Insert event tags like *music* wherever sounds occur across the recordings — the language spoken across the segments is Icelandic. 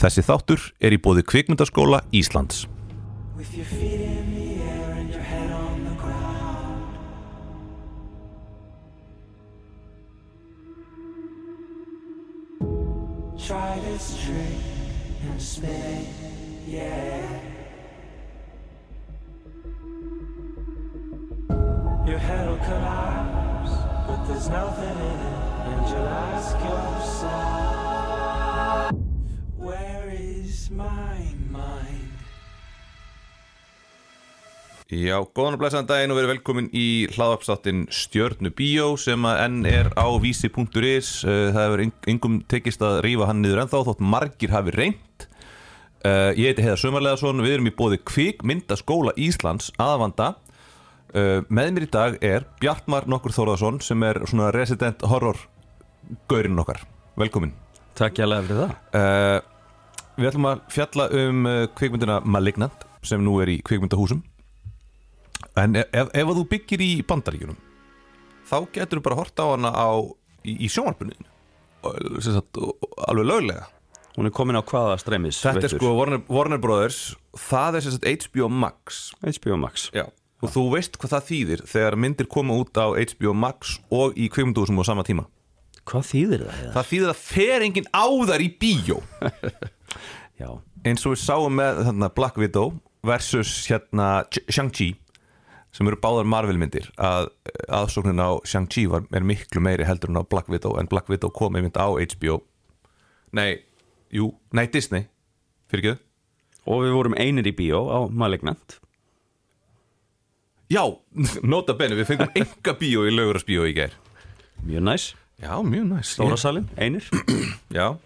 Þessi þáttur er í bóði kvikmyndaskóla Íslands. With your feet in the air and your head on the ground. Try this trick and spin it, yeah. Your head'll collapse, but there's nothing in it, and you'll ask yourself, Where is my mind? Já, góðan og blæsaðan daginn og verið velkomin í hlaðarpstáttinn Stjörnu Bíó sem að enn er á vísi.is Eh, Það hefur yng- yngum tekist að rífa hann niður ennþá þótt margir hafi reynt Eh, Ég heiti Heiðar Sömarleðarsson, við erum í bóði Kvikmyndaskóla Íslands aðvanda Eh, Með mér í dag er Bjartmar Nokkur Þórðarsson sem er svona resident horror gaurinn okkar Velkomin Takk ég alveg fyrir það Eh, Við ætlum að fjalla um eh, kvikmyndina Malignant sem nú er í kvikmyndahúsum En e-, ef, ef ef að þú byggir í bandaríkjunum þá getur þú bara að horta á hana á, í, í sjónvarpuninu sagt, og- og alveg löglega Hún er komin á hvaða streymis Þetta er veitur? sko Warner, Warner Brothers það er sem sagt HBO Max HBO Max Já. og þú veist hvað það þýðir þegar myndir koma út á HBO Max og í kvikmyndahúsum á sama tíma Hvað þýðir það? Heiða? Það þýðir að fer enginn á þar í bíó Já, eins og við sáum með þarna, Black Widow versus hérna Ch- Shang-Chi sem eru báðar Marvel-myndir að aðsóknin á Shang-Chi var- er miklu meiri heldur en á Black Widow en Black Widow kom einmitt á HBO nei, jú, nei Disney fyrir ekki og við vorum einir í bíó á Malignant já, *laughs* nota benni, við fengum enga bíó í lögurast bíó í gær Mjög næs, já, mjög næs stóra salin, einir já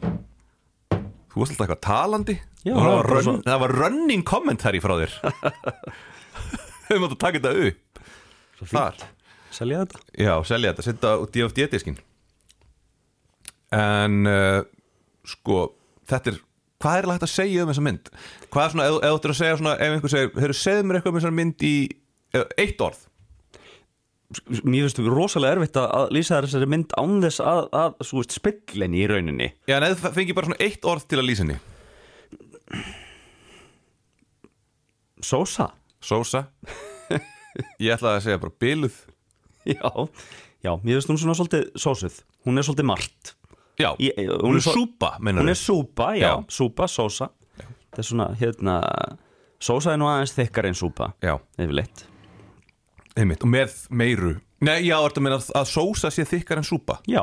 þú varst alltaf eitthvað talandi Já, Og það, það var var bara run, það var running commentary frá *laughs* þér við máttu taka þetta upp Svo þar fínt, selja þetta Já, selja þetta, setja á DFD-diskin En uh, sko, þetta er Hvað er hægt að segja um þessa mynd? Hvað er svona, ef ef þú ættir að segja svona Ef einhver segir, hefur segðu mér eitthvað um þessa mynd í eh, Eitt orð Mér finnst rosalega erfitt að- að lýsa þessari mynd án þess að, að svo veist, spillin í rauninni Já, en eða fengi bara svona eitt orð til að lýsa henni Sosa Sósa Ég ætlaði að segja bara biluð Já, já, mér finnst hún svona svolítið sósuð Hún er svolítið margt Já, Ég- ég- hún hún er er svo- súpa, Hún meinar er súpa, já, Já. súpa, sósa Það er svona, hérna Sósa er nú aðeins þekkar en súpa Já, Yfirleitt einmitt, og með meiru Nei, já, ertu að meina að sósa sé þykkar en súpa Já,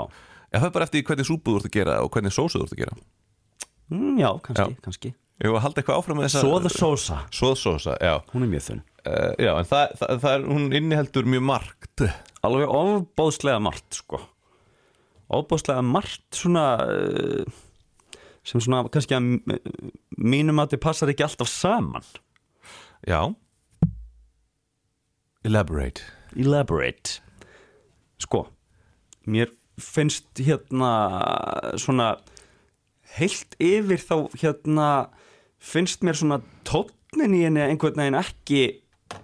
Já, það er bara eftir því hvernig súpu þú ert að gera og hvernig sósu þú ert að gera Mm, já, kannski, Já. kannski Ég var að halda eitthvað áfram með þessa Soða sósa, Svoðsósa, já hún er mjög þunn uh, Já, en það, það, það er, hún inniheldur mjög margt Alveg ofbóðslega margt, sko Ofbóðslega margt svona eh, sem svona kannski að m- mínum að þið passar ekki alltaf saman Já Elaborate Elaborate Sko, mér finnst hérna svona heilt yfir þá hérna finnst mér svona tónnin í henni einhvern veginn ekki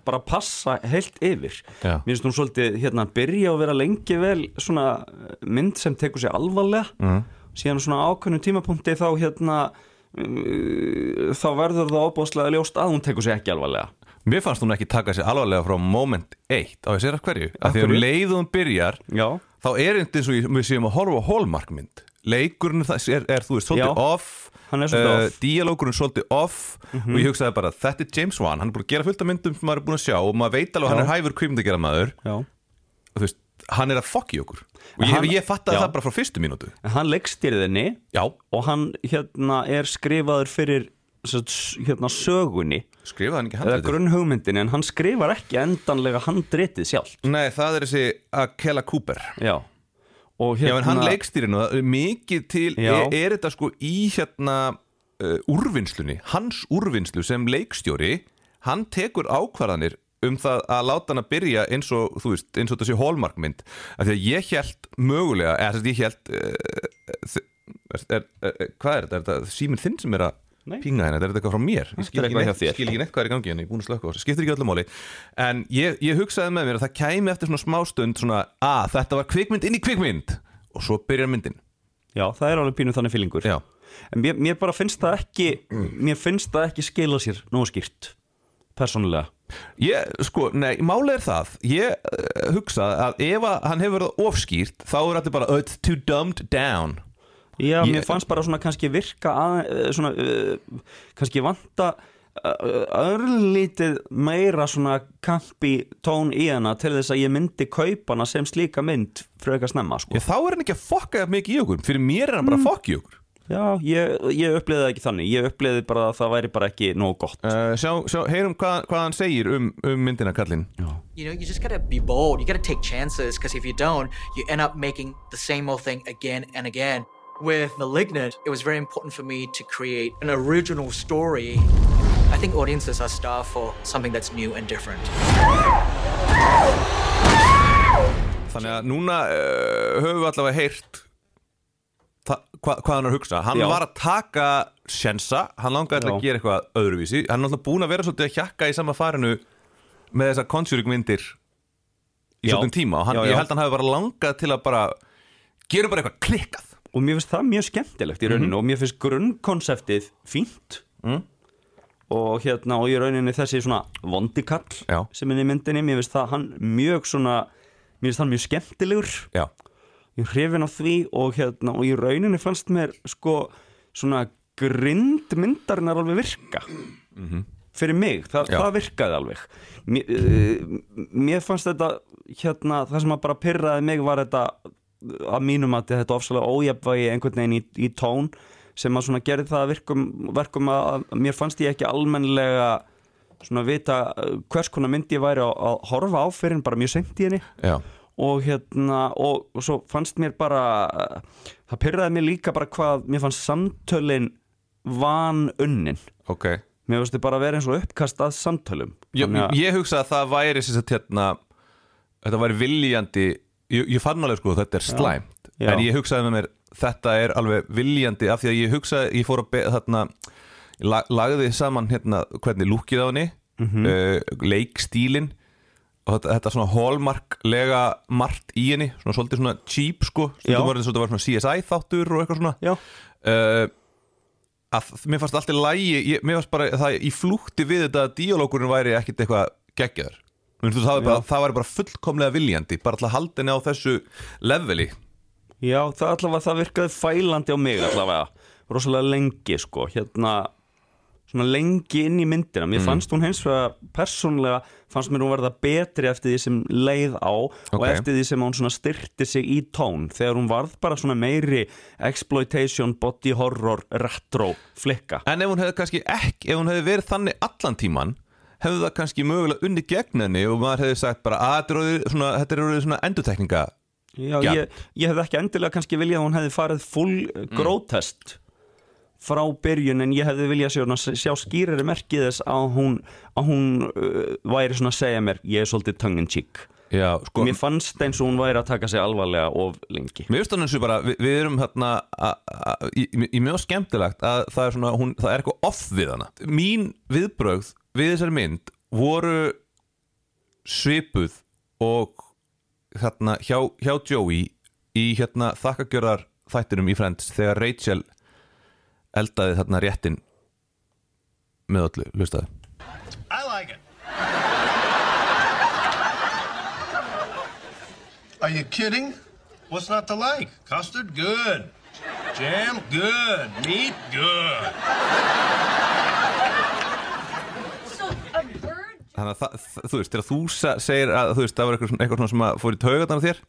bara passa heilt yfir Já. mér finnst hún svolítið hérna byrja að vera lengi vel svona mynd sem tekur sér alvarlega mm. síðan á svona ákveðnum tímapunkti þá hérna uh, þá verður það ábúðslega ljóst að hún tekur sér ekki alvarlega Mér fannst hún ekki taka sér alvarlega frá moment 1 á ég sér af hverju Af því að um hverju? leið og hún byrjar Já, þá er þetta eins og ég- við séum að horfa á hólmarkmynd leikurinn það er, er þú veist, svolítið Já. off Hann er svolítið eh, off. Mhm. díalógurinn svolítið off og ég hugsaði bara, þetta er James Wan hann er búin að gera fullt af myndum sem maður er búin að sjá og maður veit alveg að hann Já. er hæfur kvímdegera maður já og þú veist, hann er að fokki okkur og En ég, hann- ég fattaði Já. það bara frá fyrstu mínútu En hann leggstýrði henni Já, og hann hérna er skrifaður fyrir sem sagt, hérna sögunni skrifaði hann ekki eða handritið grunnhugmyndin en hann skrifar ekki endanlega handritið sjálf Nei, það er þessi Akela Cooper já og Já, hérna en hann leikstýrin og það er mikið til Já. er, er þetta sko í hérna uh, úrvinnslunni, hans úrvinnslu sem leikstjóri, hann tekur ákvarðanir um það að láta hann að byrja eins og, þú veist, eins og þessi hólmarkmynd af því að ég held mögulega eða þess að ég held uh, er, er, er, hvað er þetta? Er þetta síminn þinn sem er að Nei. pinga henni? Er þetta eitthvað frá mér? Ég skil er ekki eitthvað hjá neitt, þér. skil ekki neitt hvað er í gangi en ég er búin að slökka á þessu, skiptir ekki öllu máli en ég, ég hugsaði með mér að það kæmi eftir svona smástund svona að þetta var kvikmynd inn í kvikmynd og svo byrjar myndin já það er alveg pínu þannig fílingur Já. en mér, mér bara finnst það ekki mér finnst það ekki skila sér nógu skýrt, persónulega Ég, sko, nei, málið er það Ég uh, hugsa að ef að hann hefur verið ofskýrt Þá er allir bara "Oh, It's too dumbed down Já, Ég- mér fannst bara svona kannski virka að, eh, svona, uh, kannski vanta eh, örlítið meira svona kampi tón í hana til þess að ég myndi kaupa hana sem slíka mynd fröka snemma sko. Ég, Þá er hann ekki að fokka jafn mikið í okkur Fyrir mér er hann bara að fokka í okkur Já, ég, ég upplýði það ekki þannig ég upplýði bara að það væri bara ekki nóg gott uh, Sjá, sjá, heyrum hvað, hvað hann segir um, um myndina kallinn You know, you just gotta be bold. You gotta take chances, because if you don't, you end up making the same old thing again and again. With Malignant, it was very important for me to create an original story. I think audiences are starved for something that's new and different. Þannig að núna uh, höfum við allavega heyrt þa- hva, hvað hann er að hugsa Hann Já. var að taka sjensa Hann langaði til að Já. gera eitthvað öðruvísi Hann er náttúrulega búin að vera svolítið að hjakka í sama farinu Með þessa Conjuring myndir Í Já. svolítið tíma Og hann, Já, já. ég held að hann hafi bara langað til að bara Gerum bara eitthvað klikkað og mér finnst það mjög skemmtilegt Mhm. í rauninu og mér finnst grunnkonseptið fínt Mm. og hérna og í rauninu þessi svona vondikall Já. sem er í myndinni, mér finnst það hann mjög svona, mér finnst það mjög skemmtilegur Já, ég er hrifin á því og hérna og í rauninu fannst mér sko svona grind myndarinnar alveg virka fyrir mig, Þa, Já. það virkaði alveg mér, uh, mér fannst þetta hérna, það sem að bara pyrraði mig var þetta að mínum að þetta ofsalega ójafnvægi einhvern veginn í, í tón sem að svona gerði það að virkum, verkum að að mér fannst ég ekki almennilega svona vita eh, hvers konar mynd ég væri að, að horfa á fyrir en bara mjög seint í henni já, og hérna og, og svo fannst mér bara uh, það pyrraði mér líka bara hvað mér fannst samtölin van unnin ok mér fannst þið bara vera eins og uppkast að samtölum Ég, Þannig að- ég hugsa að það væri sem sagt hérna Þetta væri viljandi Ég, ég fann alveg sko að þetta er slæmt Já. En ég hugsaði með mér Þetta er alveg viljandi Af því að ég hugsaði, ég fór að be, þarna la- Lagði saman hérna hvernig lúkið á henni mm Mhm. Leikstílin Og þetta, þetta svona hallmarklega margt í henni Svona svolítið svona cheap sko Já. Stundum var þetta svona CSI þáttur og eitthvað svona já, uh, að mér fannst alltaf lægi ég, mér fannst bara það í flúkti við þetta að díalókurinn væri ekkit eitthvað geggjaður Mér finnst þú, það, væri bara, það væri bara fullkomlega viljandi bara alltaf haldinni á þessu leveli já, það allavega það virkaði fælandi á mig allavega rosalega lengi sko hérna svona lengi inn í myndina mér fannst hún hins vegar persónlega fannst mér hún verða betri eftir því sem leið á og Ok. eftir því sem hún svona styrti sig í tón þegar hún varð bara svona meiri exploitation, body horror, retro flikka en ef hún hefði kannski ekki ef hún hefði verið þannig allan tíman hefði það kannski mögulega unni gegn henni og maður hefði sagt bara að þetta er orðið svona, þetta er orðið svona endutekninga Já, Já. Ég, ég hefði ekki endilega kannski viljað að hún hefði farið full mm. grótest frá byrjun en ég hefði viljað sjá, sjá skýrari merkið þess að hún, að hún uh, væri svona að segja mér ég er svolítið tongue in cheek Já, sko, Mér fannst eins og hún væri að taka sig alvarlega of lengi Mér finnst hann eins og bara, við, við erum hérna að- að- í í mjög skemmtilegt að það er svona, hún, það er eitthvað off við hana Mín viðbrögð við þessari mynd voru svipuð og hérna hjá, hjá Joey í hérna þakkagjörðar þættinum í Friends þegar Rachel eldaði þarna réttin með öllu, hlustaði I like it. Are you kidding? What's not to like? Custard? Good. Jam? Good. Meat? Good. So a bird Þannig að það, það- þú veist, þegar þú sa- segir að þú veist, það var eitthvað, svona- eitthvað svona sem að fór í taugarnar á þér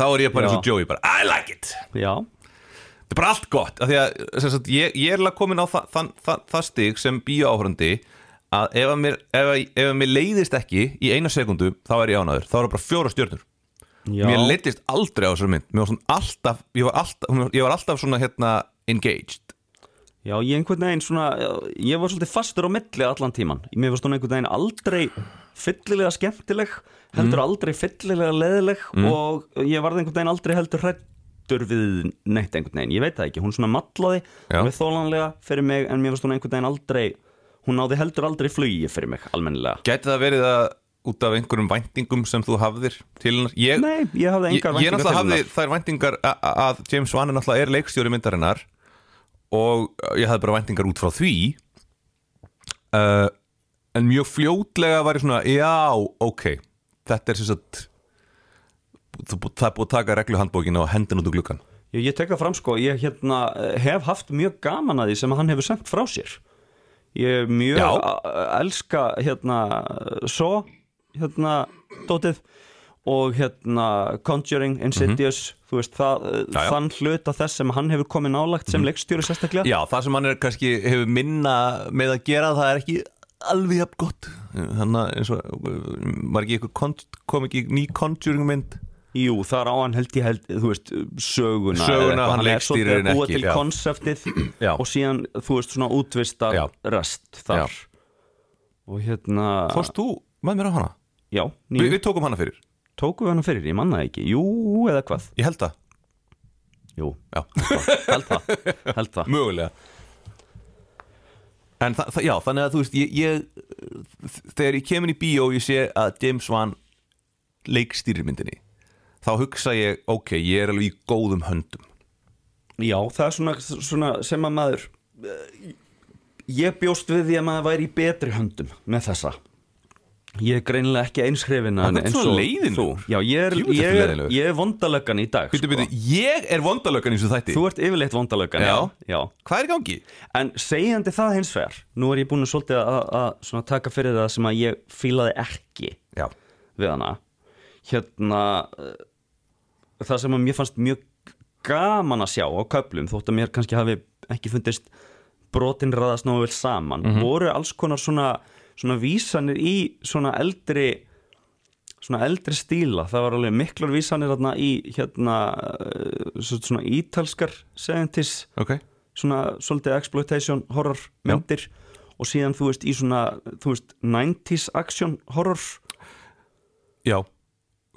þá er ég bara eins og Já. Joey bara, I like it Já, þetta er bara allt gott af því að sem sagt, ég, ég er alveg komin á það, það, það, það stig sem bíóáhörandi að ef að, mér, ef, að, ef að mér leiðist ekki í eina sekundu þá er ég ánaður, þá er það bara fjóra stjörnur já mér leiðist aldrei á þessari mynd Mér var svona alltaf, ég, var alltaf, ég var alltaf svona hérna engaged Já, ég einhvern veginn svona, ég var svolítið fastur á milli allan tíman. Mér fannst hún einhvern veginn aldrei fyllilega skemmtileg, heldur aldrei fyllilega leðileg og ég varð einhvern veginn aldrei heldur hrættur við neitt einhvern veginn. Ég veit það ekki, hún svona matlaði Já. alveg þólanlega fyrir mig en mér fannst hún einhvern veginn aldrei, hún náði heldur aldrei flugi fyrir mig almennilega. gæti það verið að út af einhverjum væntingum sem þú hafðir til hennar ég, Nei, ég hafði ég, engar ég væntingar náttúrulega til hafði þær væntingar a- a- að James Wan er náttúrulega er leikstjóri myndarinnar og uh, ég hafði bara væntingar út frá því uh, en mjög fljótlega var ég svona já, ok, þetta er sem sagt þú- það er búið að taka regluhandbókina og hendin út um úr gluggan Ég, ég tek það fram sko, ég hérna, eh, hef haft mjög gaman að því sem hann hefur sendt frá sér Ég er mjög Já. a- a- elska hérna svo, hérna dótið og hérna Conjuring, Insidious þú veist, það, Mhm. eh, Já, já. þann hluta þess sem hann hefur komið nálagt sem leikstjóri *laughs* sérstaklega Já, það sem hann er kannski hefur minna með að gera það er ekki alveg jafn gott þannig að eins og var ekki eitthvað con- kom ekki ný Conjuring mynd Jú, það er á hann held ég held, þú veist, söguna Söguna, eða eitthvað. hann er leikstýrir svolítið henni að búa ekki, til já. konseptið Já. og síðan, þú veist, svona útvista Já. rest þar Já. og hérna Fórst þú með mér á hana? Já, Vi, nýju við tókum hana fyrir, Tókum við hana fyrir, ég manna ekki Jú, eða hvað ég held það Jú, Já, *laughs* held það, held það. mögulega En þa þa já, þannig að þú veist ég, ég, Þegar ég kemur í bíó og ég sé að James Wan leikstýrir myndinni þá hugsa ég, ok, ég er alveg í góðum höndum *laughs* Já, það er svona, svona sem að maður eh, Ég bjóst við því að maður væri í betri höndum með þessa Ég er greinilega ekki eins hrifin að Hann henni er eins svo og leiðinlegur. þú. Já, ég er, Djöfull ertu ég er, leiðinlegur. ég er vondalöggan í dag sko. Býtu, býtu, ég er vondalökan eins og þætti Þú ert yfirleitt vondalöggan Já. Já, já. Hvað er í gangi? En segjandi það hins vegar Nú er ég búin að svolítið að, að svona taka fyrir það sem að ég fílaði ekki Já, við hana Hérna eh, Það sem að mér fannst mjög gaman að sjá á köflum Þótt að mér kannski hafi ekki fundist brotin raðast nógu vel saman Voru alls konar svona, svona vísanir í svona eldri svona eldri stíla, það var alveg miklar vísanir þarna í hérna eh, svona ítalskar segjandis ok svona svolítið exploitation horror myndir og síðan þú veist í svona þú veist 90s action horror Já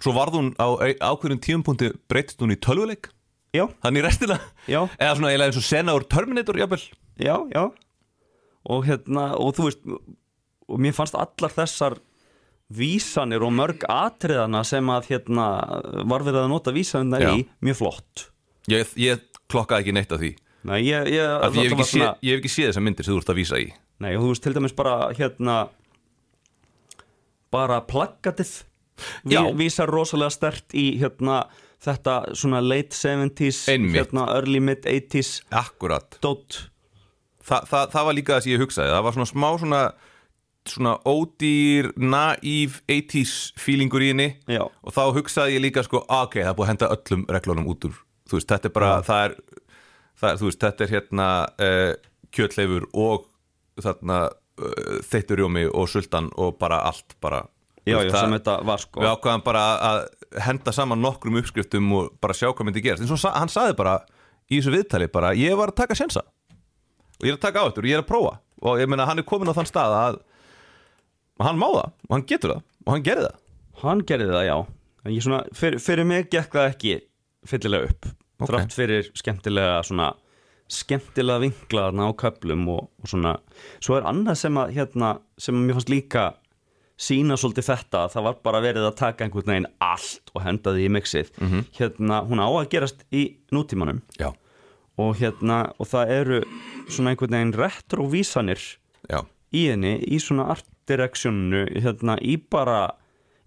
Svo varð hún á ei- ákveðnum tíumpunkti breytist hún í tölvuleik já, Þannig restina Já. Eða svona eiginlega eins og sena úr Terminator jafnvel já, já og hérna og þú veist og mér fannst allar þessar vísanir og mörg atriðana sem að hérna var verið að nota vísanina Já. í mjög flott Ég, ég klokkaði ekki neitt af því Nei, ég, ég, Af því ég hef þetta ekki, var svona... sé, ég hef ekki séð þessar myndir sem þú ert að vísa í nei, og þú veist til dæmis bara hérna bara plaggatið Já. Vi- vísar rosalega stert í hérna þetta svona late 70s Einmitt. hérna early mid 80s Akkurat dot Þa, það, það var líka það sem ég hugsaði Það var svona smá svona svona ódýr, naív 80s feelingur í henni Já. og þá hugsaði ég líka sko ok, það er búið að henda öllum reglunum út úr þú veist, þetta er bara, það er, það er þú veist, þetta er hérna uh, kjötleifur og þarna uh, þeitturjómi og sultan og bara allt bara já, þú já, það- sem þetta var sko Við ákvaðum bara að henda saman nokkrum uppskriftum og bara sjá hvað myndi gerast. En svo sa- hann saði bara í þessu viðtali bara, ég var að taka sjensa og ég er að taka á þetta og ég er að prófa og ég meina hann er komin á þann stað að hann má það og hann getur það og hann gerði það. hann gerði það, já en ég svona, fyrir, fyrir mig gekk það ekki fyllilega upp Ok. þrátt fyrir skemmtilega svona skemmtilega vinkla þarna á köflum og, og svona, svo er annað sem að hérna, sem mér fannst líka sína svolítið þetta, það var bara verið að taka einhvern veginn allt og henda því í mixið hérna, hún á að gerast í nútímanum Já. og hérna, og það eru svona einhvern veginn retrovísanir Já. í henni í svona art directionu hérna í bara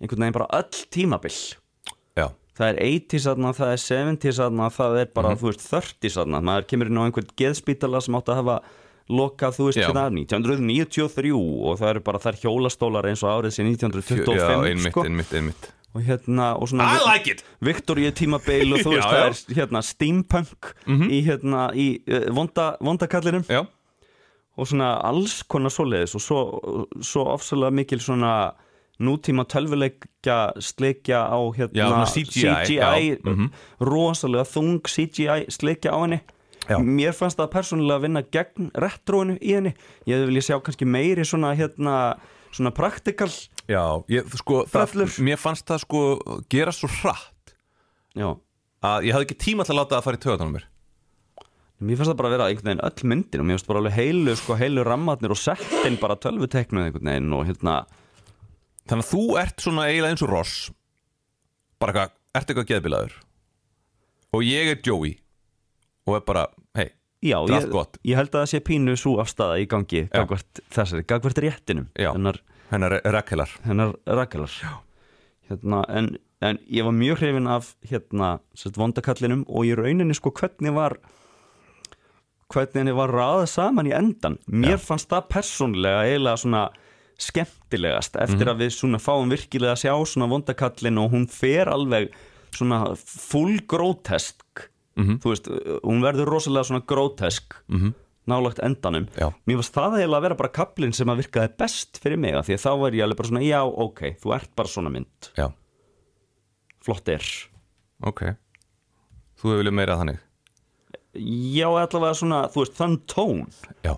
einhvern veginn bara öll tímabil Já. það er 80s aðna, það er 70s aðna það er Mhm. bara, þú veist, 30s aðna maður kemur inn á einhvern geðspítala sem átt að hafa lokað, þú veist, Já. hérna 1993 og það eru bara þær hjólastólar eins og árið sér 1925 Já, einmitt, sko. einmitt, einmitt. og hérna og svona I like it! Viktoríu tímabil og þú *laughs* Já, Mhm. veist, það já. er hérna steampunk í hérna í uh, vonda, vondakallinum Já. og svona alls konar svoleiðis og svo, svo ofsalega mikil svona nútíma tölvuleikja sleikja á hérna Já, svona CGI, já, mhm. rosalega þung CGI sleikja á henni Já. mér fannst það persónulega að vinna gegn retróinu í henni ég hefði viljað sjá kannski meiri svona hérna svona praktikal Já. Ég, sko, það, Tröllur. mér fannst það sko gera svo hratt já að ég hafði ekki tíma til að láta það fara í töðan á mér. Mér fannst það bara að vera einhvern veginn öll myndin og mér finnst bara alveg heilu, sko, heilu rammarnir og settin bara tölvuteknuð einhvern veginn og hérna, Þannig að þú ert svona eiginlega eins og Ross Bara eitthvað, ert eitthvað geðbilaður Og ég er Joey Og er bara, hei, Já, Draft ég, gott. ég held að það sé pínu svo afstæða í gangi gagvart þessari, gagvart réttinum Já. hennar, hennar Rakelar hennar rakelar hérna, en, en ég var mjög hrifin af hérna, sérst, vondakallinum og í rauninni sko hvernig var hvernig henni var raðað saman í endan mér fannst það persónlega eiginlega svona skemmtilegast eftir að við svona fáum virkilega að sjá svona vondakallin og hún fer alveg svona full grotesk þú veist, hún verður rosalega svona grotesk nálægt endanum Já. mér fannst það eiginlega að vera bara kaplinn sem að virkaði best fyrir mig af því að þá var ég alveg bara svona já, ok, þú ert bara svona mynd Já, flott er ok Þú hefur viljað meira þannig já, allavega svona, þú veist, þann tón Já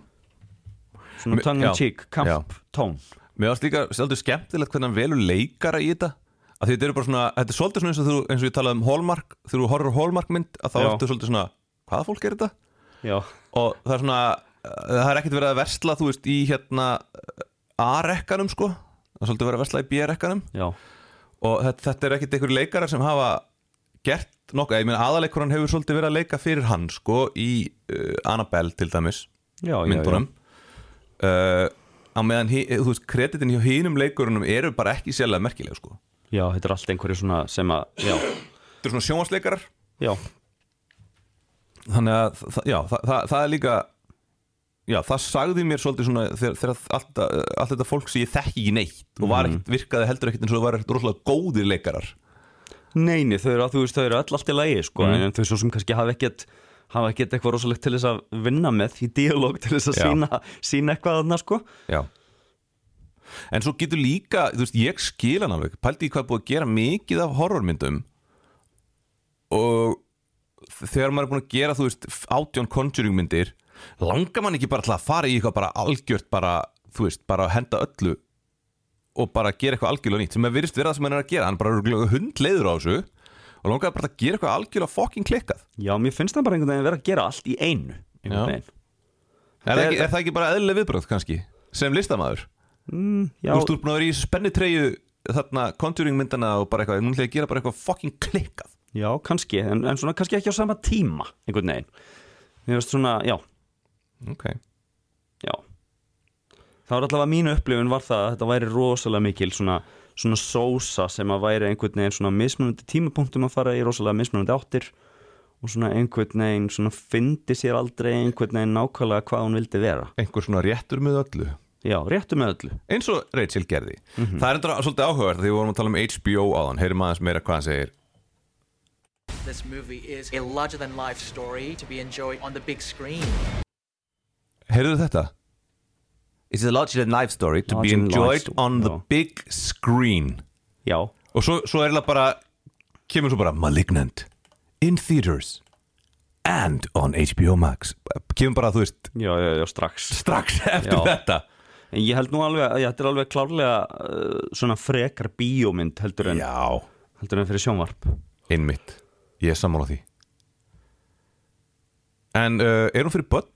svona Me- tongue in já, cheek, já. kamp, tón Mér varst líka svolítið skemmtilegt hvernig hann velur leikara í þetta að þetta eru bara svona, þetta er svolítið svona eins og, þú, eins og ég talaði um Hallmark, þegar þú horfur á Hallmark mynd að þá Já. ertu svolítið svona, hvaða fólk er þetta? já, og það er svona uh, það er ekkert verið að versla, þú veist, í hérna uh, A-rekkanum sko það er svolítið verið að versla í B-rekkanum já og þetta, þetta er ekkert einhverju leikarar sem hafa gert nokkuð, ég meina aðaleikurann hefur svolítið verið að leika fyrir hann sko í uh, Annabelle til dæmis já, já, myndunum uh, á meðan, hi- þú veist, kreditin hjá hinum leikurunum eru bara ekki sérlega merkileg sko já, já, þetta er allt einhverju svona sem að já, þetta er svona sjónvarsleikarar já, þannig að, þa- já, það, það, það er líka já, það sagði mér svolítið svona þegar, þegar allt, allt þetta fólk sem ég þekki ekki neitt og var ekkert, virkaði heldur ekkert eins og það var ekkert rosalega góðir leikarar neini, þau eru að þú veist, þau eru öll allt í lagi, sko, en þau svo sem kannski hafa ekkert hafa ekkert eitthvað rosalegt til þess að vinna með í dialóg til þess að Já. sína, sína eitthvað aðna, sko já en svo getur líka, þú veist, ég skil hann alveg pældi í hvað er búið að gera mikið af horrormyndum og þegar maður er búin að gera, þú veist, átjón conjuring myndir, langar mann ekki bara til að fara í eitthvað bara algjört bara, þú veist, bara að henda öllu og bara gera eitthvað algjörlega nýtt sem er virðist verið það sem hann er að gera, hann er bara hund leiður á þessu og langar bara til að gera eitthvað algjörlega fucking klikkað. já, mér finnst það bara einhvern veginn vera að gera allt í einu Já. einhvern veginn Er, það ekki, er það ekki bara eðlileg viðbröð kannski, sem listamaður? já, Þú veist, þú er búin að vera í spennitreyju þarna conjuring myndana og bara eitthvað, en nú ætla ég að gera bara eitthvað fucking klikkað. já, kannski, en, en svona kannski ekki á sama tíma einhvern veginn mér finnst svona, já, Ok, já það var allavega mínu upplifun var það að þetta væri rosalega mikil svona, svona sósa sem að væri einhvern veginn svona mismunandi tímapunktum að fara í rosalega mismunandi áttir og svona einhvern veginn svona fyndi sér aldrei einhvern veginn nákvæmlega hvað hún vildi vera einhver svona réttur með öllu. Mhm. já, réttu með öllu eins og Rachel gerði það er enda svolítið áhugavert því við vorum að tala um HBO áðan heyrim aðeins meira hvað hann segir This movie is a larger than life story to be enjoyed on the big screen. heyrðu þetta It's a larger than life story to Larger be than life enjoyed story, on the já. big screen já, og svo, svo er það bara kemur svo bara Malignant in theaters and on HBO Max kemur bara þú veist já, já, já, strax strax eftir Já. þetta *laughs* en ég held nú alveg, að þetta er alveg klárlega uh, svona frekar bíómynd heldur en, já, heldur en fyrir sjónvarp einmitt ég er sammála því en uh, er hún fyrir börn?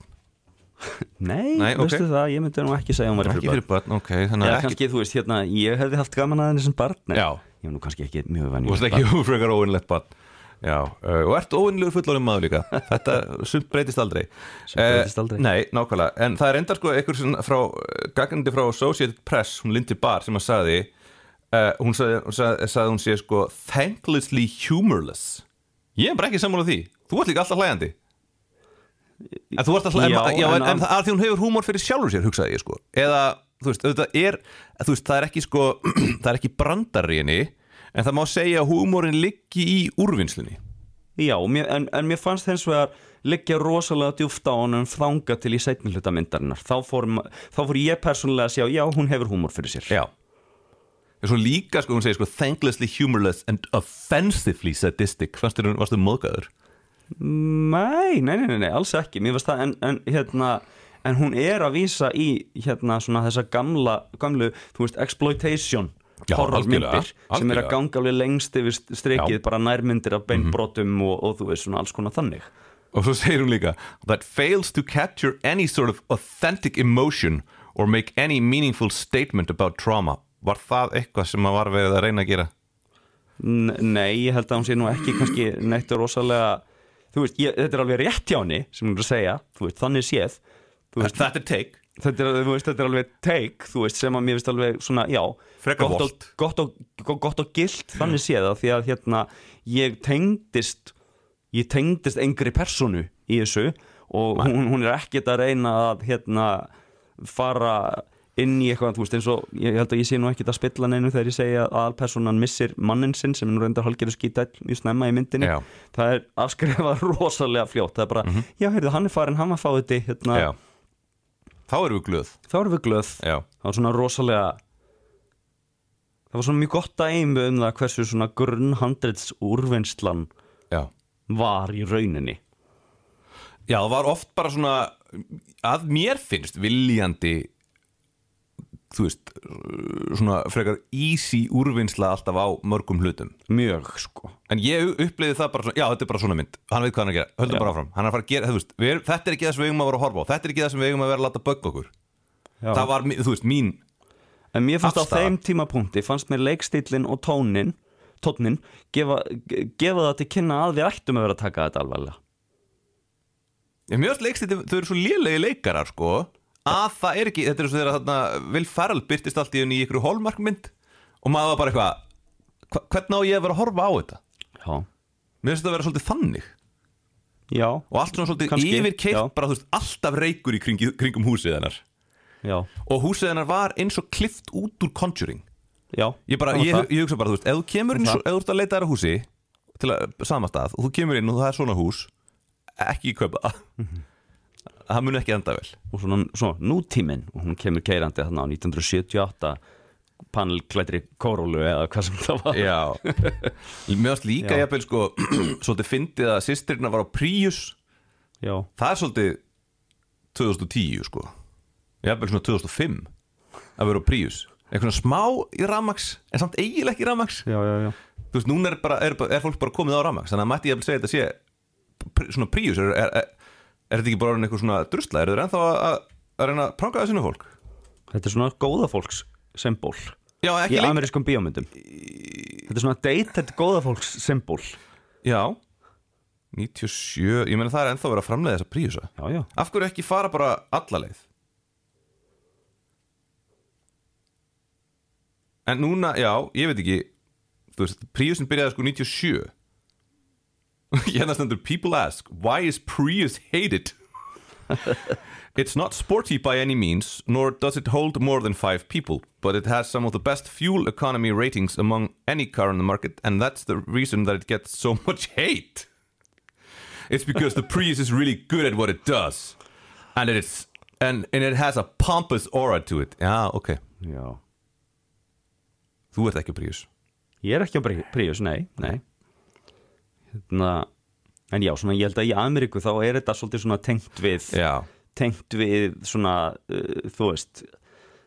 nei, Nei, ok. veistu það, ég myndi nú ekki segja að hún var ekki fyrir börn, ok þannig Já, að ekki kannski, þú veist, hérna, ég hefði haft gaman að henni sem barn en Já. Ég var nú kannski ekki mjög hérna. vann Þú veist ekki, *laughs* þú frekar óvinnlegt barn Já, uh, og ert óvinnlegur fullorinn maður líka *laughs* Þetta sumt breytist aldrei Sumt breytist aldrei. Nei, nákvæmlega, en það er enda sko einhver sem frá, gagnandi frá Associated Press hún Lindy Barr sem að sagði uh, hún sagði, hún sagði, sagði hún sé sko thanklessly humorless Ég er bara ekki sammála því Þú ert líka alltaf hlæjandi En þú ert alltaf, Já, en, já, en, en- en, það að því hún hefur húmor fyrir sjálfur sér, hugsaði ég sko Eða, þú veist, auðvitað er Þú veist, það er ekki sko *clears throat* Það er ekki brandari henni En það má segja að húmorin liggi í úrvinnslunni Já, mér, en, en mér fannst hins vegar liggja rosalega djúft á honum þanga til í seinni hluta myndarinnar þá fór, ma- þá fór ég persónulega að sjá, já, hún hefur húmor fyrir sér Já En svo líka, sko, hún segir sko Thanklessly humorless and offensively sadistic Fannst þér hún, varstu móðgæður? Nei, nei, nei, nei, nei, alls ekki Mér finnst það, en, en hérna En hún er að vísa í hérna svona þessa gamla, gamlu, þú veist, exploitation Já, horrormyndir algjörlega, sem er algjörlega. að ganga alveg lengst yfir st- strikið Já. Mhm. bara nærmyndir af beinbrotum og, og þú veist svona alls konar þannig Og svo segir hún líka That fails to capture any sort of authentic emotion Or make any meaningful statement about trauma Var það eitthvað sem að var verið að reyna að gera? N- Nei, ég held að hún sé nú ekki kannski neitt rosalega þú veist, ég, þetta er alveg rétt hjá henni sem hún er að segja, þú veist, þannig séð þú veist, Þetta er take þetta er, þú veist, þetta er alveg take, þú veist, sem að mér veist alveg svona, já, Frekar gott, og, volt. gott, og, go- gott og gilt þannig séð það, því að hérna ég tengdist ég tengdist engri personu í þessu og hún, hún er ekkert að reyna að hérna fara inn í eitthvað, þú veist, eins og ég held að ég sé nú ekkert að spilla neinu þegar ég segja að alpersonan missir mannin sinn sem er nú reyndar halgerðu skítæll mjög snemma í myndinni Já. Mhm. það er afskrifað *laughs* rosalega fljótt það er bara, já, heyrðu, hann er farin, hann var fáiði hérna, Já. Þá erum við glöð þá erum við glöð Já. það var svona rosalega það var svona mjög gott að einu um það hversu svona grunnhandrits úrvinnslan Já. var í rauninni Já, það var oft bara svona að mér finnst viljandi þú veist svona frekar easy úrvinnsla alltaf á mörgum hlutum mjög sko En ég uppleiði það bara svona, já þetta er bara svona mynd Hann veit hvað hann er að gera, höldum Já. bara áfram Hann er að fara að gera, þú veist, við erum, þetta er ekki það sem við eigum að vera að horfa á Þetta er ekki það sem við eigum að vera að láta bögg okkur Já. Það var, mi- þú veist, mín en mér fannst Afstaða. á þeim tímapunkti fannst mér leikstýlin og tónin tónin gefa, ge- gefa það til kynna að við ættum að vera að taka þetta alvarlega Ég mjög leikstýtti, þau eru svo lélegi leikarar sko Að það er ekki, þetta er svo þegar þarna Vil Ferrell byrtist allt í henni í ykkur holmarkmynd Og maður var bara eitthvað hva- Hvernig á ég að vera að horfa á þetta? já, Mér finnst þetta að vera svolítið þannig já, Og allt svona svolítið Kannski, já. yfirkeitt Bara, þú veist, alltaf reykur í kringi, kringum húsið hennar já, Og húsið hennar var eins og klift út úr Conjuring já Ég, bara, það var ég, það. ég hugsa bara, þú veist, ef þú kemur inn, svo, Það. ef þú ert að leita þér að húsi til að samastað og þú kemur inn og það er svona hús ekki kaupa *laughs* það það mun ekki enda vel og svona, svona nútíminn og hún kemur keirandi þarna á 1978 panelklættri kórólu eða hvað sem það var *laughs* Já Mér varst líka Já. jafnvel sko *clears throat* svolítið fyndið að sýstirna var á Prius já, það er svolítið 2010 sko jafnvel svona 2005 að vera á Prius eitthvað svona smá í rafmaks en samt eiginlega ekki rafmaks já, já, já. þú veist, núna er, bara, er, bara- er fólk bara komið á rafmaks þannig að mætti ég að segja þetta sé pr- svona príus, er, er, er, er þetta ekki bara orðin eitthvað svona drusla, eru þeir ennþá að, að, að reyna að pranga þessu fólk? Þetta er svona góðafólks symbol Já, í ekki leik amerískum bíómyndum Þetta er svona dated góðafólks symbol Já, Já, 97, ég meina það er ennþá verið að framlega þessa príusa já, Af hverju ekki fara bara alla leið? En núna, já, ég veit ekki Þú veist, Priusin byrjaði sko 97 *laughs* Hérna stendur People ask, why is Prius hated? *laughs* It's not sporty by any means Nor does it hold more than five people But it has some of the best fuel economy ratings Among any car on the market And that's the reason that it gets so *laughs* much hate It's because the Prius is really good at what it does and it's and, and it has a pompous aura to it Já, ok, já. þú ert ekki Prius Ég er ekki á Pri- Prius, nei, nei. Hérna, En já, svona, ég held að í Ameríku þá er þetta svolítið svona tengt við Já, tengt við svona uh, þú veist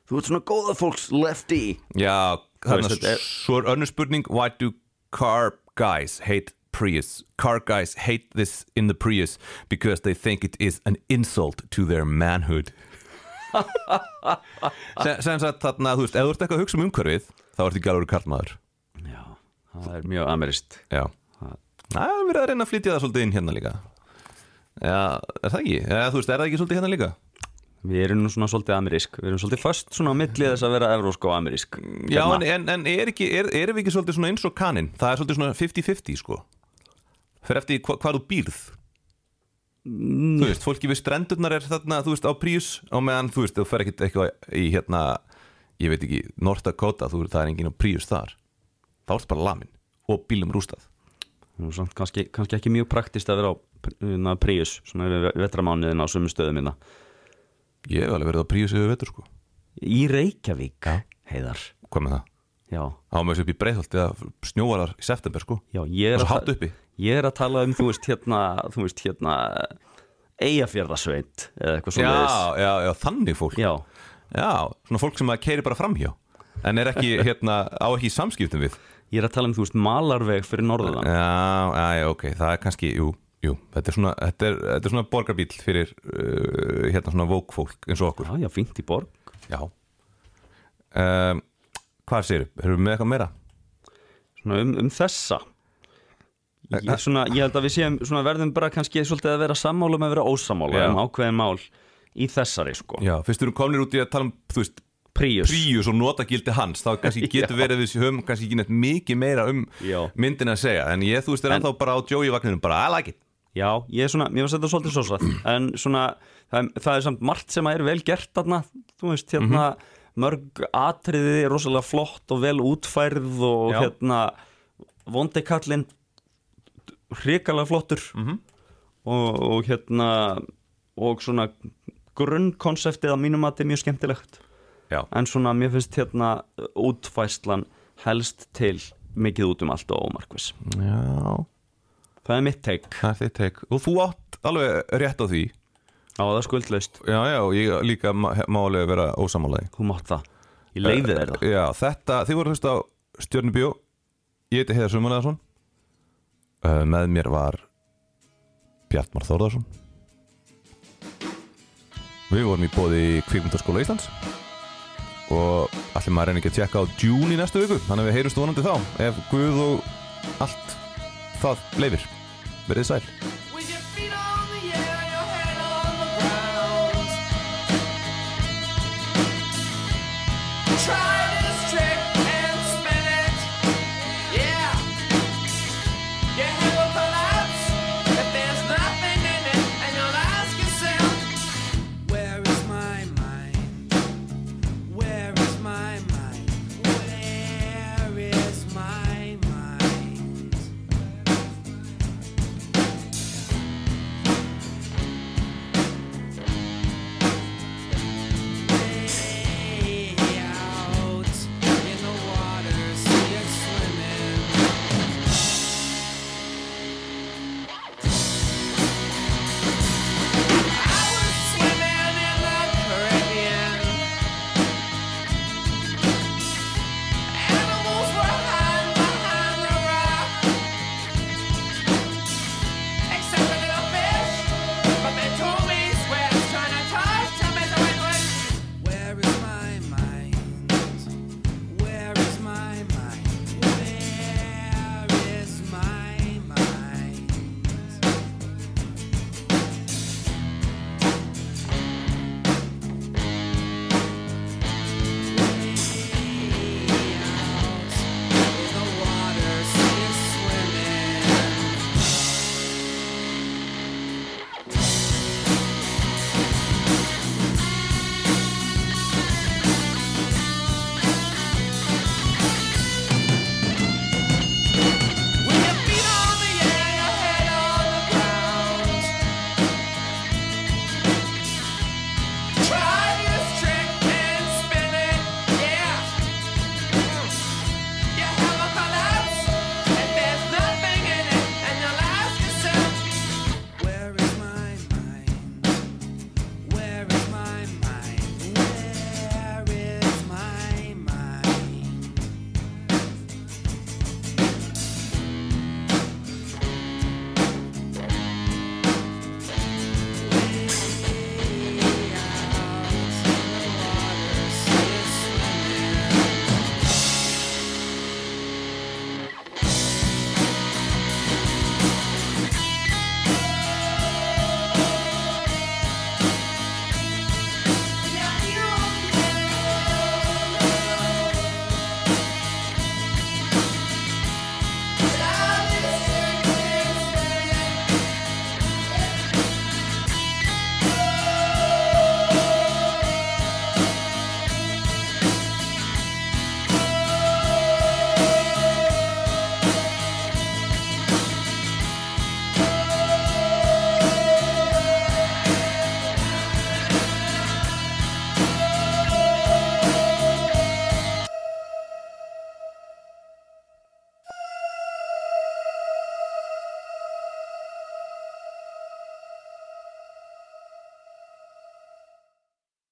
þú ert svona góðafólks lefty já þarna, veist, þetta er- svo er önnur spurning Why do car guys hate Prius? Car guys hate this in the Prius because they think it is an insult to their manhood Sem sem sagt þarna, þú veist, ef þú ert eitthvað að hugsa um umhverfið þá ertu ekki alveg karlmaður Já, það er mjög amerist Já Það er verið að reyna að flytja það svolítið inn hérna líka Já, er það ekki? Já, þú veist, er það ekki svolítið hérna líka? Við erum nú svona svolítið amerísk Við erum svolítið föst svona á milli þess að vera evrósk og amerísk Já, en, en, en er ekki, er, erum við ekki svolítið svona eins og kaninn? Það er svolítið svona 50-50 sko Fyrir eftir hva, hvað þú býrð Þú veist, fólki við strendurnar er þarna, þú veist, á Príus og meðan, þú veist, þú fer ekkit eitthvað í hérna, ég veit ekki, North Dakota þú, það er enginn á Príus þar þá ertu bara lamin og bílum rústað Nú, samt kannski, kannski ekki mjög praktist að vera á na, Prius, svona yfir vetramánuðin á sömu stöðum hérna. minna. Ég hef alveg verið á Príus yfir vetur sko Í Reykjavík, heiðar. Hvað með það? Já, Það var með þessu upp í Breiðholt eða snjóvarar í september sko já, ég er, Og svo að, hátt uppi. ég er að tala um, þú veist, hérna, þú veist, hérna, Eyjafjörðasveit eða eitthvað Já, svona já, já, þannig fólk Já, Já, svona fólk sem að keiri bara framhjá En er *laughs* ekki, hérna, á ekki í samskiptum við ég er að tala um, þú veist, Malarveg fyrir norðan. Já, já, já, ok, það er kannski, jú, jú Þetta er svona, þetta er, þetta er svona borgarbíl fyrir, uh, hérna, svona vókfólk eins og okkur Já, já, fínt í borg. Já um, Hvað séru, erum við með eitthvað meira? Svona um, um þessa. ég, svona, ég held að við séum svona, verðum bara kannski svolítið að vera sammála með að vera ósammála Já. um ákveðin mál í þessari sko Já, fyrst erum komnir út í að tala um, þú veist, Príus, Príus og notagildi hans þá *laughs* kannski getur Já. verið við höfum kannski ekki neitt mikið meira um Já. myndin að segja en ég, þú veist, er En- ennþá bara á Joey vagninum bara, I like it já, ég er svona mér var þetta svolítið sósað en svona, það, er- það er samt margt sem er vel gert þarna, þú veist, hérna mörg atriði er rosalega flott og vel útfærð og Já. hérna vondikallin hrikalega flottur -hmm. og, og hérna og svona grunnkonseptið að mínum að þetta er mjög skemmtilegt Já, en svona mér finnst hérna útfæslan helst til mikið út um allt og ómarkvis Já. það er mitt teik það er þitt tek og þú átt alveg rétt á því á það er skuldlaust, Já, já, og ég líka má má alveg vera ósamálaði þú mátt það ég leiði þér það Já, þetta, þið voru hlust á Stjörnubjó Ég heiti Heiðar Sumarleðarsson uh, Með mér var Bjartmar Þórðarsson Við vorum í bóði Kvikmyndaskóla Íslands Og allir maður reyna ekki að tjekka á Dune í næstu viku Þannig að við heyrumst vonandi þá Ef Guð og allt það leifir Verðið sæl With your feet on the air, your head on the ground. Try